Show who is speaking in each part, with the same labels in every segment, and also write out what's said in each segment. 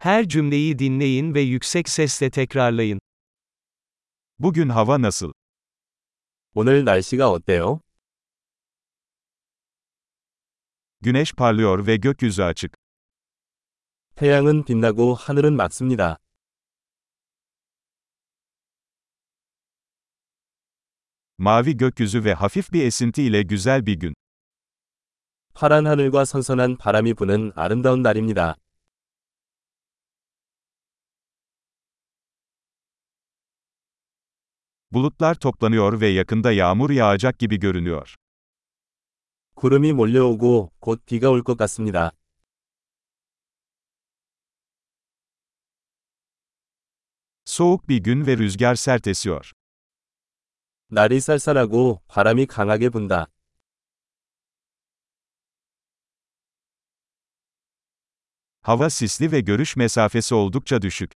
Speaker 1: Her cümleyi dinleyin ve yüksek sesle tekrarlayın.
Speaker 2: Bugün hava nasıl?
Speaker 3: 오늘 날씨가 어때요?
Speaker 2: Güneş parlıyor ve gökyüzü açık.
Speaker 3: 태양은 빛나고 하늘은 맑습니다.
Speaker 2: Mavi gökyüzü ve hafif bir esinti ile güzel bir gün.
Speaker 3: 파란 하늘과 선선한 바람이 부는 아름다운 날입니다.
Speaker 2: Bulutlar toplanıyor ve yakında yağmur yağacak gibi görünüyor.
Speaker 3: 구름이 몰려오고 곧 비가 올 것 같습니다.
Speaker 2: Soğuk bir gün ve rüzgar sert esiyor.
Speaker 3: 날이 쌀쌀하고 바람이 강하게 분다.
Speaker 2: Hava sisli ve görüş mesafesi oldukça düşük.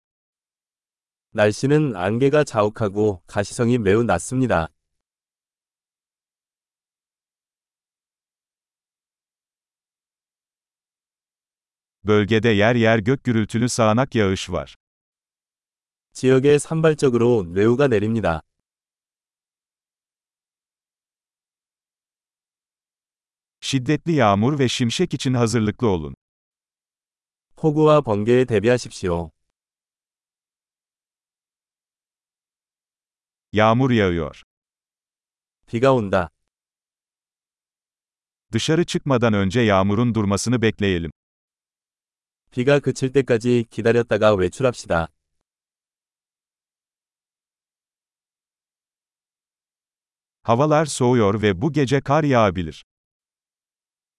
Speaker 3: 날씨는 안개가 자욱하고 가시성이 매우 낮습니다.
Speaker 2: Bölgede yer yer gök gürültülü sağanak yağış var.
Speaker 3: 지역에 산발적으로 뇌우가 내립니다.
Speaker 2: Şiddetli yağmur ve şimşek için hazırlıklı olun.
Speaker 3: 폭우와 번개에 대비하십시오.
Speaker 2: Yağmur yağıyor.
Speaker 3: 비가 온다.
Speaker 2: Dışarı çıkmadan önce yağmurun durmasını bekleyelim.
Speaker 3: 비가 그칠 때까지 기다렸다가 외출합시다.
Speaker 2: Havalar soğuyor ve bu gece kar yağabilir.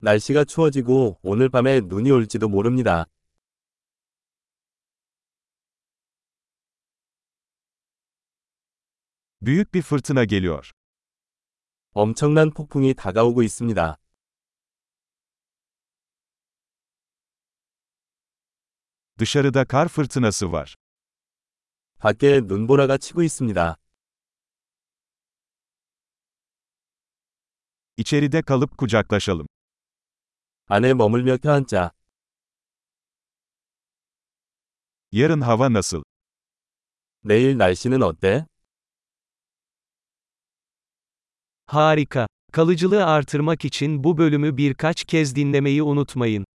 Speaker 3: 날씨가 추워지고 오늘 밤에 눈이 올지도 모릅니다.
Speaker 2: Büyük bir fırtına geliyor.
Speaker 3: 엄청난 폭풍이 다가오고 있습니다.
Speaker 2: Dışarıda kar fırtınası var.
Speaker 3: 밖에 눈보라가 치고 있습니다.
Speaker 2: İçeride kalıp kucaklaşalım.
Speaker 3: 안에 머물며 펴앉자.
Speaker 2: Yarın hava nasıl?
Speaker 3: 내일 날씨는 어때?
Speaker 1: Harika. Kalıcılığı artırmak için bu bölümü birkaç kez dinlemeyi unutmayın.